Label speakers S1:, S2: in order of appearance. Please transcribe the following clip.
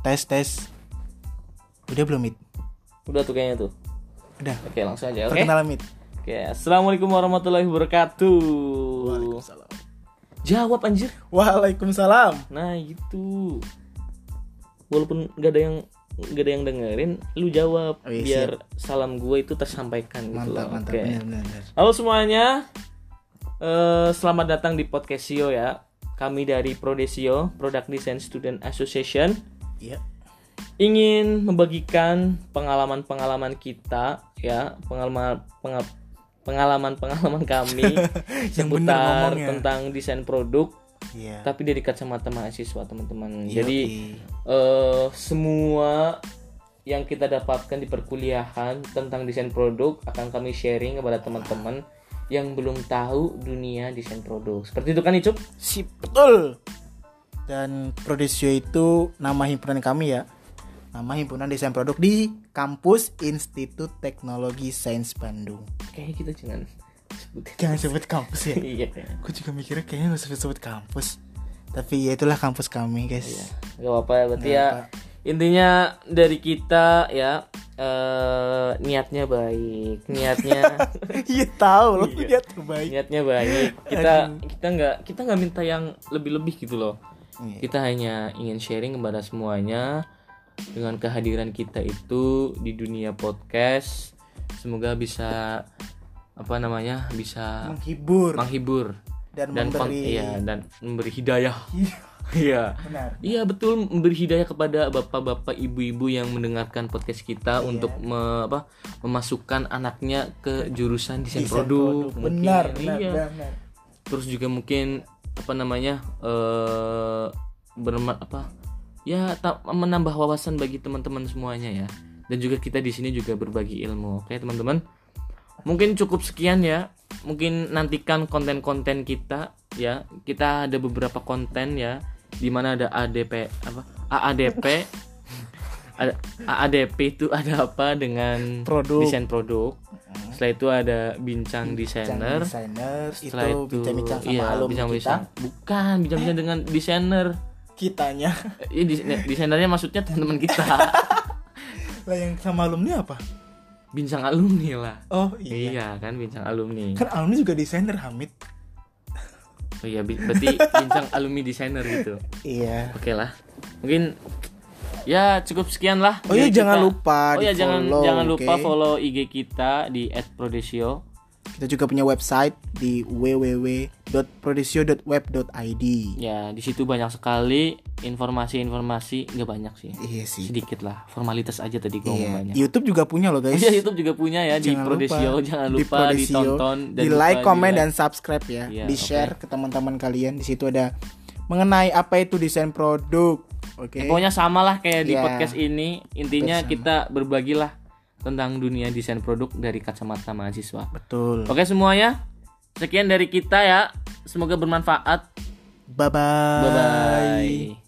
S1: tes tes udah belum mit
S2: Udah tuh kayaknya tuh.
S1: udah
S2: Oke, langsung aja. Oke.
S1: perkenalan mit
S2: Oke, assalamualaikum warahmatullahi wabarakatuh. Jawab anjir.
S1: Waalaikumsalam
S2: Nah gitu. Walaupun gak ada yang gak ada yang dengerin, lu jawab
S1: Oh, iya,
S2: biar salam gue itu tersampaikan gitu
S1: mantap
S2: loh.
S1: mantap iya.
S2: Oke.
S1: benar benar benar.
S2: Halo semuanya. Eh, selamat datang di podcast Sio ya. Kami dari Prodesio, Product Design Student Association,
S1: iya
S2: ingin membagikan pengalaman-pengalaman kita ya, pengalaman pengal- pengalaman-pengalaman kami
S1: Yang bener
S2: seputar
S1: ngomongnya.
S2: tentang desain produk
S1: iya
S2: tapi dari kacamata mahasiswa teman-teman
S1: Iya,
S2: jadi
S1: iya.
S2: eh, semua yang kita dapatkan di perkuliahan tentang desain produk akan kami sharing kepada teman-teman yang belum tahu dunia desain produk seperti itu kan Icuk
S1: Sip, betul. Dan Prodesio itu nama himpunan kami ya. Nama himpunan desain produk di kampus Institut Teknologi Sains Bandung.
S2: kayaknya kita jangan sebutin
S1: Jangan sebut kampus ya.
S2: iya
S1: Gue juga mikirnya kayaknya nggak sebut sebut kampus. Tapi ya itulah kampus kami guys.
S2: gak apa-apa berarti
S1: Nggak
S2: ya
S1: apa.
S2: intinya dari kita ya eh, niatnya baik niatnya
S1: Iya tahu lo dia terbaik.
S2: niatnya baik kita kita nggak kita nggak minta yang lebih lebih gitu loh
S1: Iya.
S2: kita hanya ingin sharing kepada semuanya dengan kehadiran kita itu di dunia podcast semoga bisa apa namanya bisa
S1: Menghibur
S2: menghibur
S1: dan,
S2: dan peng-
S1: memberi.
S2: iya, dan memberi hidayah
S1: Iya,
S2: iya
S1: Benar.
S2: Iya betul memberi hidayah kepada bapak-bapak ibu-ibu yang mendengarkan podcast
S1: Iya.
S2: kita untuk me- apa, memasukkan anaknya ke jurusan desain,
S1: Desain
S2: produk, mungkin.
S1: Benar, benar,
S2: Iya.
S1: benar.
S2: Terus juga mungkin apa namanya eh berma- apa ya ta- menambah wawasan bagi teman-teman semuanya ya. Dan juga kita di sini juga berbagi ilmu. Oke, teman-teman. Mungkin cukup sekian ya. Mungkin nantikan konten-konten kita ya. Kita ada beberapa konten ya di mana ada ADP apa? AADP ada AADP itu ada apa dengan
S1: Produk.
S2: desain produk. Setelah itu ada bincang
S1: Jangan
S2: desainer.
S1: desainer itu
S2: Setelah itu
S1: bincang-bincang sama
S2: iya,
S1: alumni kita. Eh?
S2: bincang-bincang. Bukan bincang-bincang dengan desainer.
S1: Kitanya.
S2: Eh, Iya, dis- ne- desainernya maksudnya teman kita.
S1: Lah yang sama alumni apa?
S2: bincang alumni lah.
S1: Oh iya.
S2: Iya. kan bincang alumni.
S1: Kan alumni juga desainer Hamid.
S2: Oh iya bi- berarti bincang alumni desainer gitu.
S1: Iya.
S2: Oke lah. Mungkin ya cukup sekian lah.
S1: Oh iya
S2: dari
S1: jangan
S2: kita.
S1: lupa
S2: Oh iya jangan
S1: di-follow,
S2: jangan lupa
S1: oke?
S2: follow IG kita di @prodesio.
S1: Kita juga punya website di www.prodesio.web.id.
S2: Ya, di situ banyak sekali informasi-informasi nggak banyak sih.
S1: Iya sih.
S2: Sedikit lah, formalitas aja tadi gua
S1: Iya.
S2: ngomongnya.
S1: YouTube juga punya loh guys.
S2: Iya YouTube juga punya ya di
S1: Jangan
S2: Prodesio. Jangan
S1: di
S2: lupa
S1: Prodesio,
S2: ditonton dan
S1: di
S2: lupa
S1: like, comment
S2: di-like.
S1: dan subscribe ya.
S2: Iya,
S1: di share ke teman-teman kalian. Di situ ada mengenai apa itu desain produk. Oke.
S2: Pokoknya sama lah kayak di
S1: Iya.
S2: podcast ini. Intinya
S1: Hampir
S2: kita berbagilah tentang dunia desain produk dari kacamata mahasiswa.
S1: Betul.
S2: Oke semuanya, sekian dari kita ya. Semoga bermanfaat.
S1: Bye bye.
S2: Bye bye.